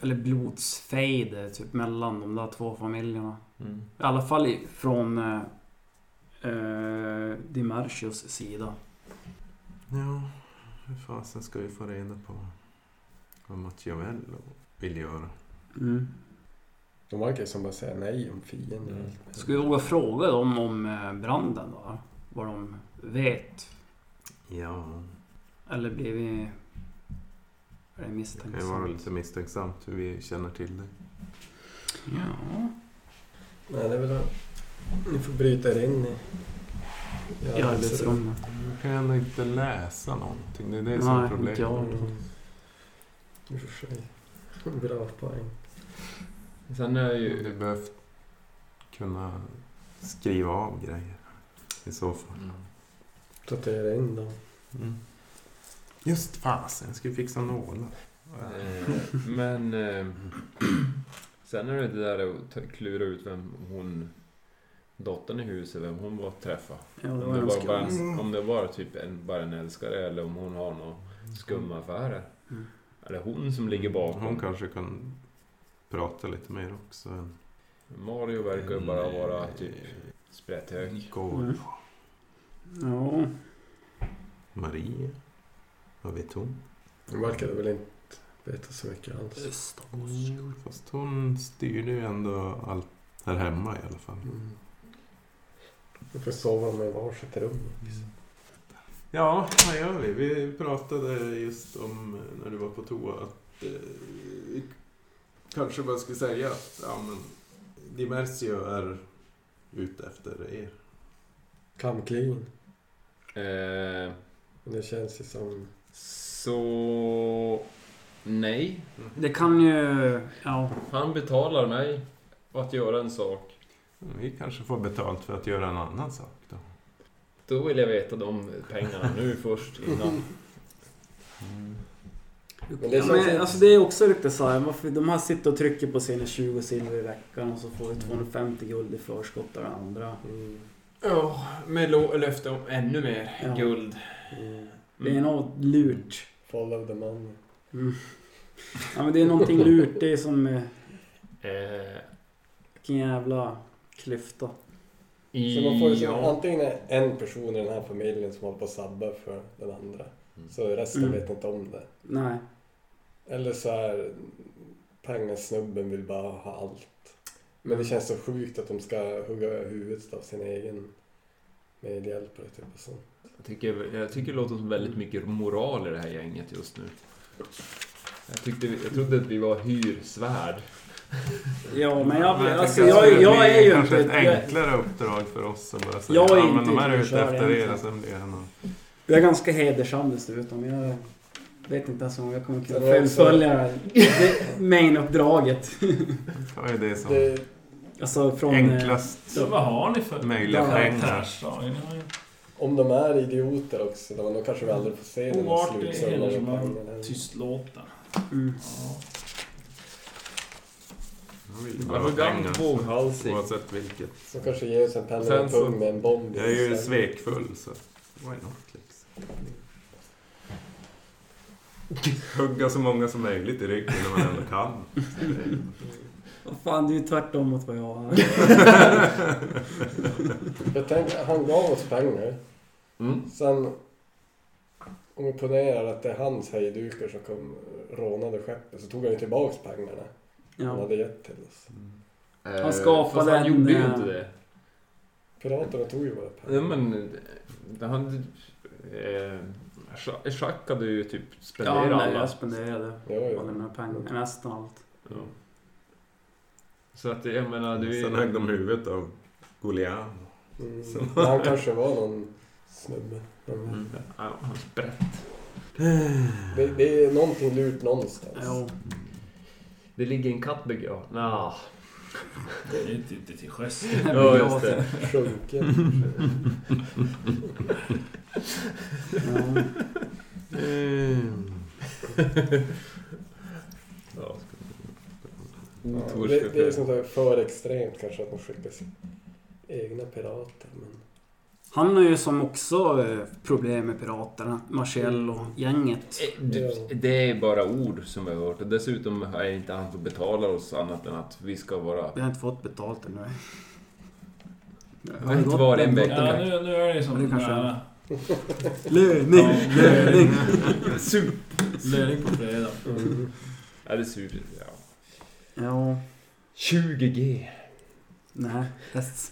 Eller blodsfejde typ mellan de där två familjerna. I alla fall i- från eh, eh, Dimercios sida. Ja, hur fasen ska vi få reda på vad Machiavello vill göra? Mm. De verkar ju som bara säga nej om fienden. och allt. Ska vi våga fråga dem om eh, branden då? Vad de vet? Ja, Eller blir vi... Är det det typ- kan ju vara misstänksamt? lite misstänksamt hur vi känner till det. Ja. Nej, det är väl... Ni får bryta er in i... I arbetsrummet. Du kan ju ändå inte läsa någonting, det är det som är Nej, inte problemet. jag. Mm. I och för sig. Bra poäng. Sen är det ju... Du behövt kunna skriva av grejer i så fall. Mm. Tatuera in dem. Mm. Just fasen, jag skulle fixa nålar. Eh, Men eh, sen är det det där att ta- klura ut vem hon, dottern i huset, vem hon var träffa. Ja, det Om var det en var bara, skam. en, om det var typ en, bara en älskare eller om hon har några skumma affärer. Mm. Eller hon som ligger Mm. Hon bakom. kanske kan prata lite mer också. än- Eh, Mario verkar ju bara vara typ sprätthög. Går. Mm. Ja. Maria? Vad vet hon? De verkade väl inte veta så mycket alls. Fast hon styrde ju ändå allt här hemma i alla fall. Mm. Jag får sova med varsitt rum. Ja, vad gör vi? Vi pratade just om eh, när du var på toa att eh, vi kanske bara skulle säga att ja, men Dimersio är ute efter er. Kamklin. Eh, Men det känns ju som... så... Nej, Det kan ju... Ja. han betalar mig att göra en sak. Mm, Vi kanske får betalt för att göra en annan sak då. Då vill jag veta de pengarna nu först innan. Mm. Men det är som- Men, alltså det är också lite så här, varför, de här sitter och trycker på sina 20 silver i veckan och så får vi 250 guld i förskott av det andra. Mm. Ja, med löfte om ännu mer Ja. guld. Mm. Det är något lurt. Follow the money. Ja, men det är någonting lurt. Det är som... eh, Eh, Vilken jävla klyfta. Så man får ju som, ja. antingen är en person i den här familjen som håller på att sabba för den andra. Så resten Mm. vet inte om det. Nej. Eller så är pengasnubben vill bara ha allt. Mm. Men det känns så sjukt att de ska hugga huvudet av sin egen medhjälpare typ och sånt. Jag tycker, jag tycker det låter som väldigt mycket moral i det här gänget just nu. Jag, tyckte, vi- jag trodde att vi var hyrsvärd. Ja, men jag, Men alltså, tänker att jag, det jag blir är ju kanske inte... ett Jag, enklare uppdrag för oss att bara säga Jag är ja, men inte de här är ute utkörd efter er egentligen." och sen blir det någon... jag är ganska hedersam dessutom. Jag vet inte ens om jag kommer kunna Det var också- fullfölja det här- det mainuppdraget. Ta ju det som Det, Alltså från... eh, enklast Så vad har ni för möjliga Ja. pengar. då? Ni har ju- om de är idioter också då, då kanske vi aldrig får se den här Oartig slutsumman. av hedersman. pengarna. Tystlåten. Mm. Ja. Jag vill ju bara ha Arrogant, pengar. våghalsig. Oavsett vilket. Som kanske ger oss en penna Sen och en pung så- med en bomb i Jag är ju sen. svekfull så why not liksom. Hugga så många som möjligt i ryggen när man ändå kan. Vad fan, det är ju tvärtom mot vad jag har. Jag tänkte, han gav oss pengar. Mm. Sen om vi ponerar att det är hans hejdukar som kom rånade skeppet så tog han ju tillbaks pengarna han Ja. hade gett till oss. Eh, Han skapade fast han en, gjorde ju eh, inte det. Piraterna tog ju våra pengar. Nej men... eh, Han... Eh, Jacques hade ju typ Ja, spenderat nej, alla. jag spenderade. Ja, ja. Jag lämnade pengar. Nästan allt. Ja. Så att det- jag menar, du... Sen högg de huvudet av Goliat. Mm. Så- Men Han kanske var någon snubbe. Mm. Mm. Ja, han sprätt. Det, det är någonting lurt någonstans. Jo. Det ligger en katt begravd. Nja. Det är inte inte till sjöss. Ja, just det. Sjunken. Ja. Eh, Ja, Ja, Otur Mm. det, ska det är jag sånt där för extremt kanske att man skickar sina egna pirater. Men... Han har ju som också eh, problem med piraterna. Marcello-gänget. Eh, du- Det är bara ord som vi har hört. Och dessutom är inte han som betalar oss annat än att vi ska vara... Vi har inte fått betalt ännu. har inte varit en vecka. Ja, nu, nu är det Men som... det kanske- nära. Löning, löning. Super! Löning på fredag. Ja, det är super. Ja. Ja, 20G. nej. Yes.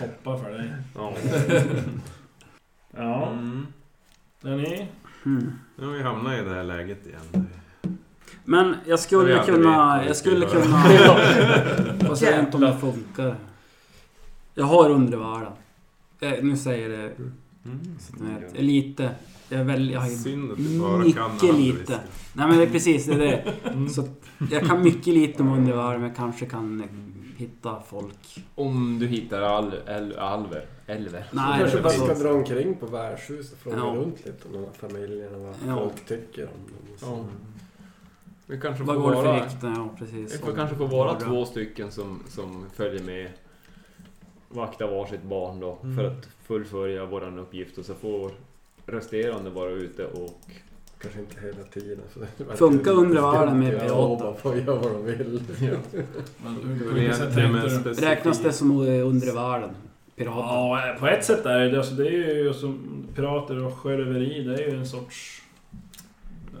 Hoppa för dig. Ja. Ja, Mm. hörni. Mm. Nu har vi hamnat i det här läget igen. Men jag Det skulle vi aldrig kunna... vet. Jag skulle kunna... Vad säger jag inte om det funkar? Jag har undre världen. Eh, nu säger jag det Mm. så att ni vet. Lite. Jag är väldigt... Jag har ju- Synd att du bara Mycket kan handviska. lite. Nej men det är precis det är det. Så att jag kan mycket lite om undre världen men jag kanske kan eh, hitta folk. Om du hittar al, al, alver. Elver. Nej, alltså, kanske det bara var ska så. dra omkring på värdshus och fråga Ja. runt lite om de här familjerna, vad Ja. folk tycker om dem. och så. Ja. Vi kanske får Vad går det för vara... rykten? Ja, Vi precis. får kanske få vara två stycken som, som följer med. Vakta varsitt barn då för Mm. att fullfölja våran uppgift och så får resterande vara ute och... Kanske inte hela tiden. Så det verkar Funkar lite undre världen med skumt. Ja, pirater? bara får göra vad de vill. Men hur- Det på är vilket sätt tänkte egentligen med du? specifik- Räknas det som eh, undre världen? Pirater? Ja, på ett sätt är det alltså, det. är ju som pirater och sjöröveri, det är ju en sorts...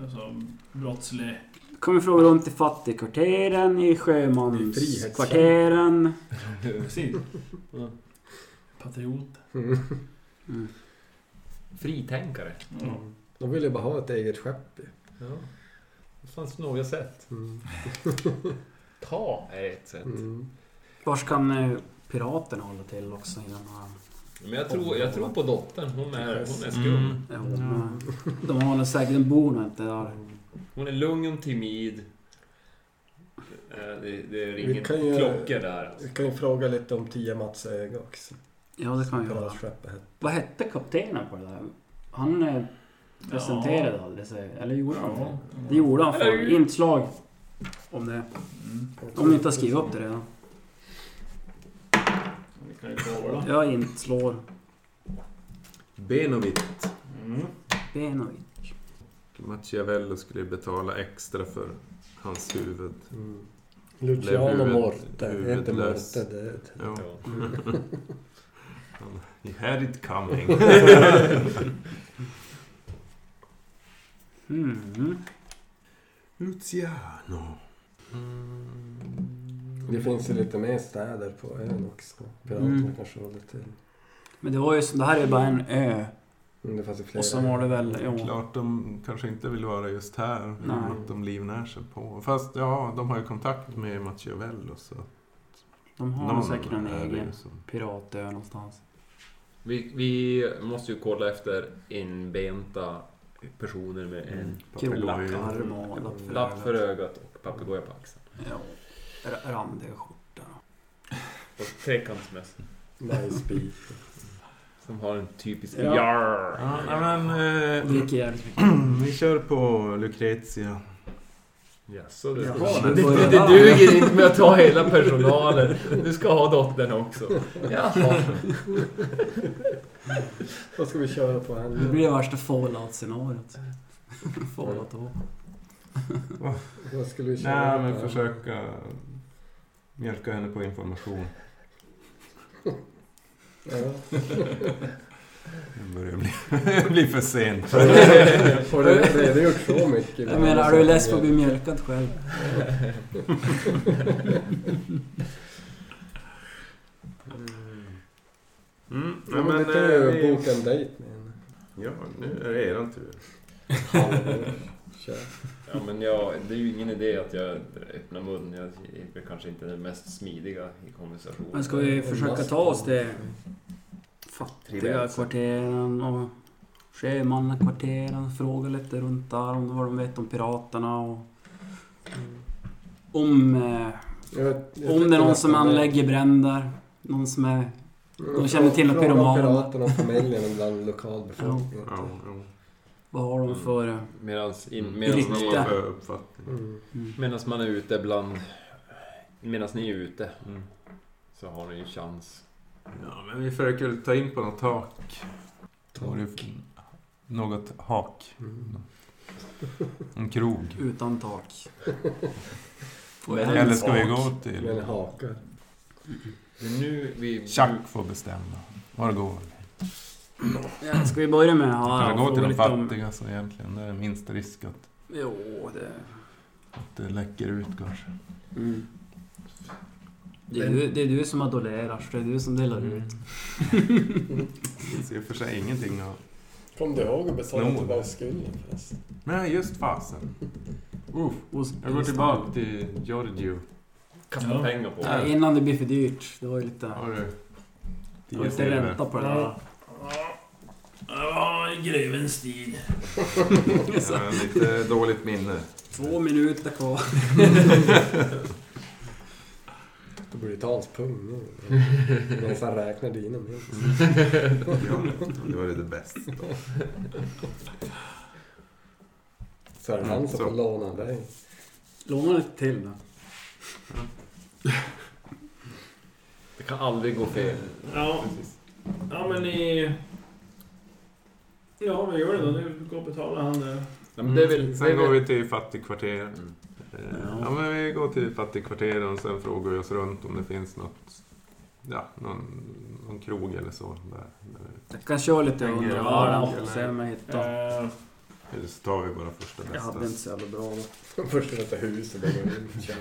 Alltså, brottslig... Kommer fråga runt i fattigkvarteren, i Det är frihetskämp. sjömanskvarteren. Precis. Patriot. Mm. Fritänkare. Ja. Mm. De vill ju bara ha ett eget skepp. ju. Ja. Det fanns några sätt. Mm. Ta är ett sätt. Mm. Vars kan eh, piraterna hålla till också i den här? Men jag tror, jag tror på dottern. Hon är, hon är skum. Mm. Ja, men De har nog säkert en bor nog inte där. Hon är lugn och timid. Eh, Det, det Vi ringer kan ju- klockor där. Vi kan ju fråga lite om Tia Matsäga också. Ja, det kan vi göra. Piratskeppet hette. Vad hette kaptenen på det där? Han eh, presenterade aldrig sig. Eller gjorde han det? Det gjorde han för inslag. Om det. Mm. Om ni inte har skrivit upp det redan. Vi kan ju kolla. Jag inslår Benovit. Mm. Benovic. Machiavello skulle ju betala extra för hans huvud. Mm. Blev Luciano huvud- Morte. Det heter huvudlös. Morte död. Ja. Ja. Mm. You had it coming. Mm. Luciano. Det finns ju lite mer städer på ön också. Piraterna Mm. kanske håller till. Men det var ju så, det här är ju bara en ö. Men det fanns ju flera. Och så var det väl... Jo. Klart de kanske inte vill vara just här. Nej. Att de livnär sig på. Fast ja, de har ju kontakt med Machiavello så De har nog någon säkert en är det egen ju som- piratö någonstans. Vi, vi måste ju kolla efter inbenta personer med en Papegoja. Krolakarm och lapp för lapp för ögat. ögat och papegoja på axeln. Ja. R- Randig skjorta. Och trekantsmässa. Majsbit. Som har en typisk Ja. jarr. Ja, nej, men... Och Eh, Dricker jävligt mycket. vi kör på Lucrezia. Jaså du. Jaha, det, det var det, det det där. duger inte med att ta hela personalen. Du ska ha dottern också. Jaha. Vad ska vi köra på Det henne? blir värsta fallout-scenariot. fallout och Vad skulle vi köra Nej, på men henne? försöka mjölka henne på information. Ja. Det börjar bli, bli för sent. Får du redogjort så mycket? Jag menar, är du less på att bli mjölkad själv? Mm, Ja, nej, men men, du kan eh, ju vi- boka en dejt med henne. ja, nu är det eran tur. Kör. Ja, men jag, det är ju ingen idé att jag öppnar munnen. Jag är väl kanske inte den mest smidiga i konversationen. Men ska Mm. vi försöka ta oss till fattiga kvarteren och sjömannakvarteren. Fråga lite runt där om vad de vet om piraterna och om, eh, Jag vet- jag om det tycker är någon att som den där- anlägger bränder. Någon som är... De känner till Fråga pyromaner. Mm. piraterna och familjen bland lokalbefolkningen. Ja, ja. Vad har de för... Mm. eh, Medans, in, Vad medans, Riktigt. har ni, man för uppfattning? Mm. Mm. medans man är ute bland... Medans ni är ute. Mm. Så har ni ju chans. Ja, men vi försöker väl ta in på något tak. Var det Något hak. Mm. En krog. Utan tak. Får jag Eller ens ska vi tak? gå Men till... hakar. Det är nu vi... Chuck får bestämma. Var går vi? Ja, ska vi börja med... Kan vi Ja, gå till fråga de lite om- fattiga så egentligen? Det är minst risk att Jo, det... mm. det läcker ut kanske. Det är, du, det är du som adolerar, så det är du som delar Mm. ut. Det finns i och för sig ingenting av... Kom du ihåg att betala Nog. tillbaka skulden förresten? Nej, just fasen. Uff, Hos- jag går tillbaka till Giorgio. Kasta Ja. pengar på Nej, innan det blir för dyrt. Det var ju lite... Har du? Det var lite ränta på det där. Det var grevens tid. Ja, lite dåligt minne. Två minuter kvar. Då blir det talspung nu. Medan han räknar dina mynt. Ja, det var det bästa. Så är det han som Mm, Så. får låna dig. Låna lite till då. Det kan aldrig gå fel. Ja. ja, men ni... Ja, vi gör det då. Nu går och betalar han det. Ja, men det är väl, det är Mm. Sen går väl, vi till fattigkvarteren. Mm. Eh, Ja, men vi går till fattigkvarteren och sen frågar vi oss runt om det finns något, ja, någon, någon krog eller så. Där, där. Jag kan köra lite Tänker under jag. varandra och Eller- se om jag hittar. Eh, Eller så tar vi bara första Jag bästa. hade inte så jävla bra då. Först i detta hus och bara går in och kör.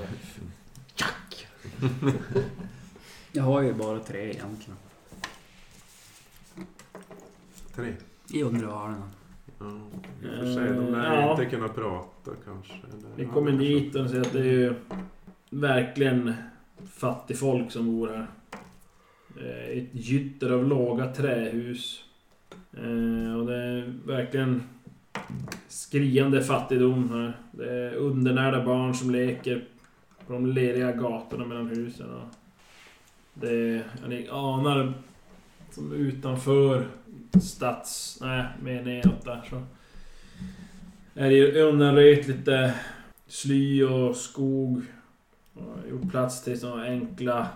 Jag har ju bara tre egentligen. Tre. I undre varandra. Ja, i och för sig, de lär Eh, Ja. ju inte kunna prata kanske. Eller- Ni ja, kommer det kanske- dit och ser att det är ju verkligen fattig folk som bor här. Eh, Ett gytter av låga trähus. Eh, Och det är verkligen skriande fattigdom här. Det är undernärda barn som leker på de leriga gatorna mellan husen. Och det är, ja, ni anar som utanför stads... Nej, mer neråt där så är det ju undanröjt lite sly och skog. Och gjort plats till såna enkla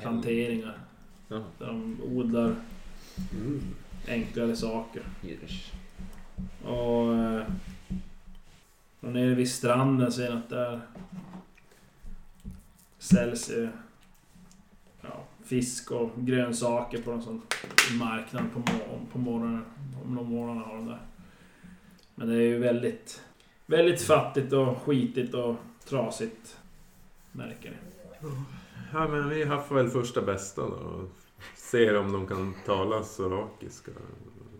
planteringar. Ja. Där de odlar Mm. enklare saker. Yes. Och... eh, Och nere vid stranden ser ni att där säljs eh, ja, fisk och grönsaker på en sån marknad på, mor- på morgonen. Om de morgnarna har de där. Men det är ju väldigt, väldigt fattigt och skitigt och trasigt. Märker ni. Ja, men vi haffar väl första bästa då. och Ser om de kan tala sorakiska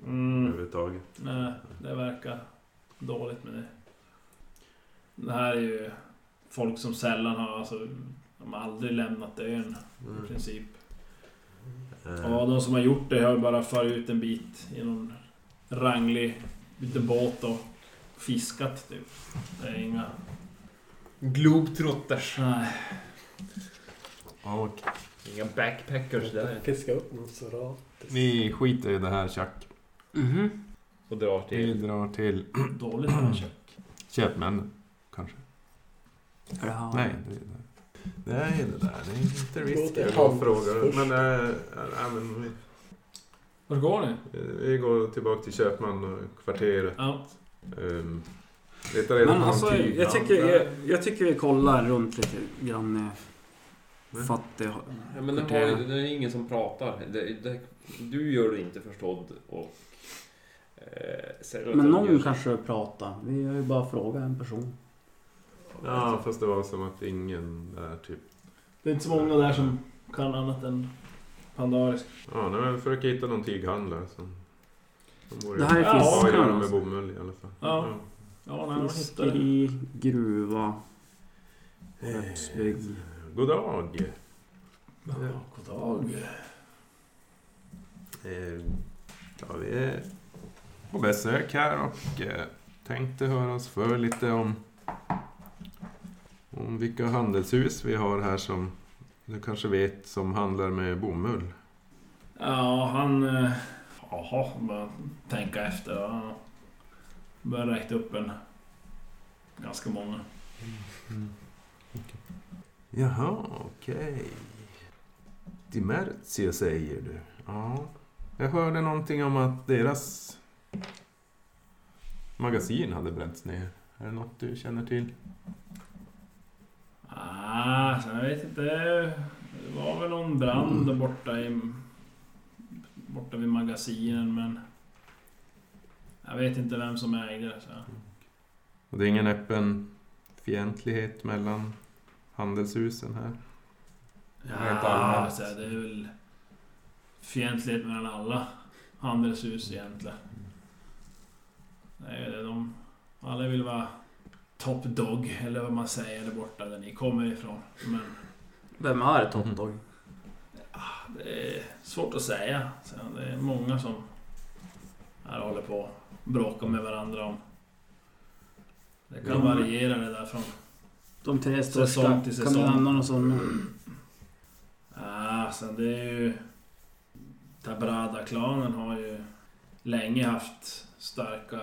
Mm, överhuvudtaget. nej, det verkar dåligt med det. Det här är ju folk som sällan har, alltså, de har aldrig lämnat ön i Mm. princip. Eh, Ja, de som har gjort det har bara farit ut en bit i någon ranglig liten båt och fiskat typ. Det är inga... Globetrotters. Nej. Och Inga backpackers där. Fiska upp någon soratis. vi skiter i det här tjack. Mhm. Och drar Vi till. drar till Dåligt kanske. Köpmännen. Kanske. Är det här? Nej, det är det. Det är det där. Det är inte risky Låter att gå och fråga. handelsförst. Men, äh, äh, men vi, Var går ni? vi går tillbaka till Köpmankvarteret. Ja. Um, letar reda Men på någon alltså, jag tyghandlare. tycker, jag, jag tycker vi kollar runt lite grann. eh, Mm. Fattig... Ja, men den, har, ju- den är ingen som pratar. Det, det, du gör det inte förstådd och... Eh, säger att Men de någon gör- kanske pratar. Vi har ju bara frågat en person. Ja, Alltså. fast det var som att ingen där typ... Det är inte så många där som kan annat än pandarisk. Ja, nej, men jag försöker hitta någon tyghandlare som... som borde- Det här är Ja, Ja, fiskaren gör de med alltså. bomull i alla fall. Ja. Ja, när man hittar det. Fiskeri, gruva, Ja. Rättsbygd. God dag! Ja, god dag. Eh, Ja, vi är på besök här och eh, tänkte höra oss för lite om, om vilka handelshus vi har här som du kanske vet som handlar med bomull. Ja, han... eh, Jaha, bara tänka efter. Han börjar räkna upp en... Ganska många. Jaha, okej. Dimertia säger du. Ja. Jag hörde någonting om att deras magasin hade bränts ner. Är det något du känner till? Ah, sen jag vet inte. Det var väl någon brand där borta i... Borta vid magasinen, men... Jag vet inte vem som ägde det. Så. Och det är ingen öppen fientlighet mellan handelshusen här. Rent Ja, allmänt. Ah, så det är väl fientlighet mellan alla handelshus egentligen. Det är ju det de... Alla vill vara top dog, eller vad man säger, där borta där ni kommer ifrån. Men Vem är Top Dog? det är svårt att säga. Så det är många som här håller på och bråkar med varandra om... Det kan Ja. variera det där från... De tre Säsong största. Kan till vi säsong. nämna någon sån? Ah, sen det är ju... Tabrada-klanen har ju länge haft starka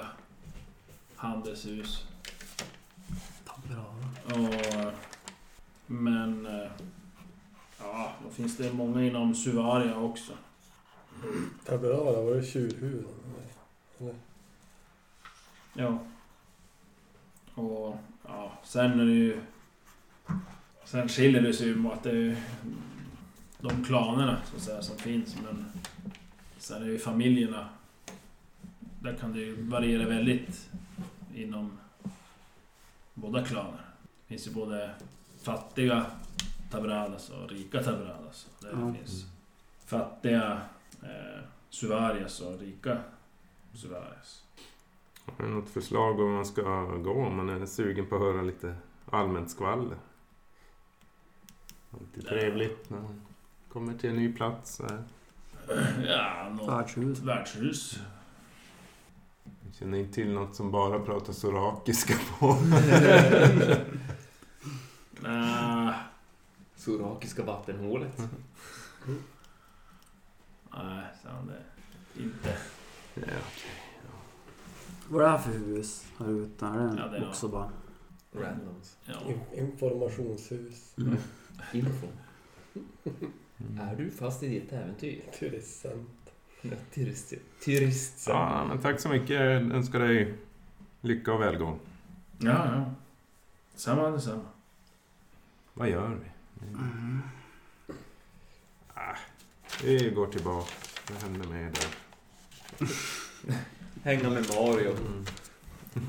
handelshus. Och, men... eh, Ja, då finns det många inom Suvaria också. Taberada, var det tjurhuvuden? Nej. Ja. Och ja, sen är det ju... Sen skiljer det sig ju mot att det är ju de klanerna så att säga, som finns. Men sen är det ju familjerna. Där kan det ju variera väldigt inom båda klaner. Det finns ju både fattiga Tabradas och rika Tabradas. Där Ja. det finns fattiga eh, Suvarias och rika Suvarias. Har du något förslag om man ska gå om man är sugen på att höra lite allmänt skvaller? Alltid trevligt när man kommer till en ny plats. så här. Ja, något Värdshus. värdshus. Det Känner inte till något som bara pratar sorakiska på. Nej, Sorakiska vattenhålet. nej, sa han det. Inte. Ja. Vad är det här för hus här ute? Är Ja, det det är också bara... Randoms. Ja. In- Informationshus. Info. Är du fast i ditt äventyr? Turisten. Turist. Turist. ja, men tack så mycket. Jag önskar dig lycka och välgång. Ja, ja. Samma, detsamma. Vad gör vi? Ah, vi går tillbaka. Vad hände med er där? Hänga med Mario. Mm.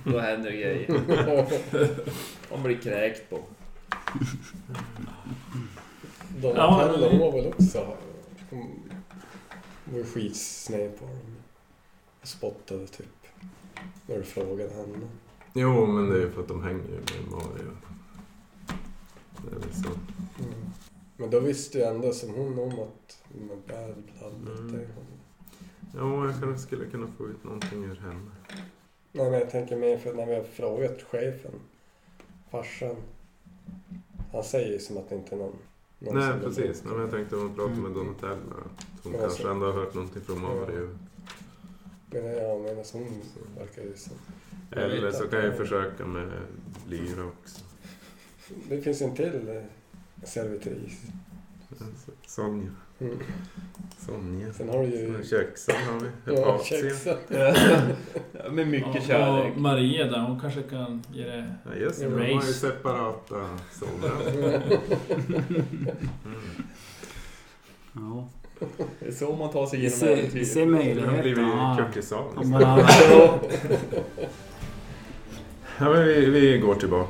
Då händer det grejer. Han blir kräkt på. Donatello men- var väl också... ha- hon var ju skitsned på dem. Och spottade typ. När du frågade henne. Jo, men det är ju för att de hänger ju med Mario. Det är väl så. Mm. Men då visste ju ändå som hon om att med bad blood. Mm. det är hon. Jo, jag kanske skulle kunna få ut någonting ur henne. Nej men jag tänker mer för när vi har frågat chefen. Farsan. Han säger ju som att det inte är någon. någon Nej, som vill precis. bli- Nej, men jag tänkte om jag pratade med Donatella. Att hon Mm. Ja, kanske så. ändå har hört någonting från Mario. Men jag menar som hon verkar ju som. Jag vet Eller så att- kan jag ju försöka med Lyra också. Det finns en till eh, servitris. Sonja. Mm. Sonja. Sen har du Sen har ju... vi Köksan har vi. Ja, Asia. kexen. Med Ja, mycket och kärlek. Maria där, hon kanske kan ge det... Ja, just det. De har ju Erase. separata sovrum. Ja. Det är så man tar sig Vi igenom ser, vi ser äventyret. Det har blivit möjligheterna. Om kuckisar. man har- Ja, men vi, vi går tillbaka.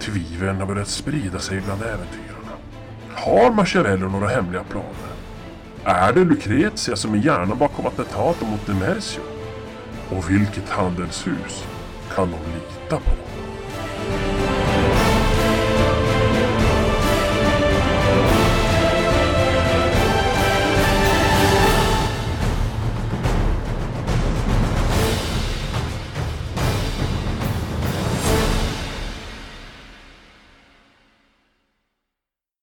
Tvivlen har börjat sprida sig bland äventyrarna. Har Machiavello några hemliga planer? Är det Lucrezia som är hjärnan bakom attentatet mot Demersio? Och vilket handelshus kan de lita på?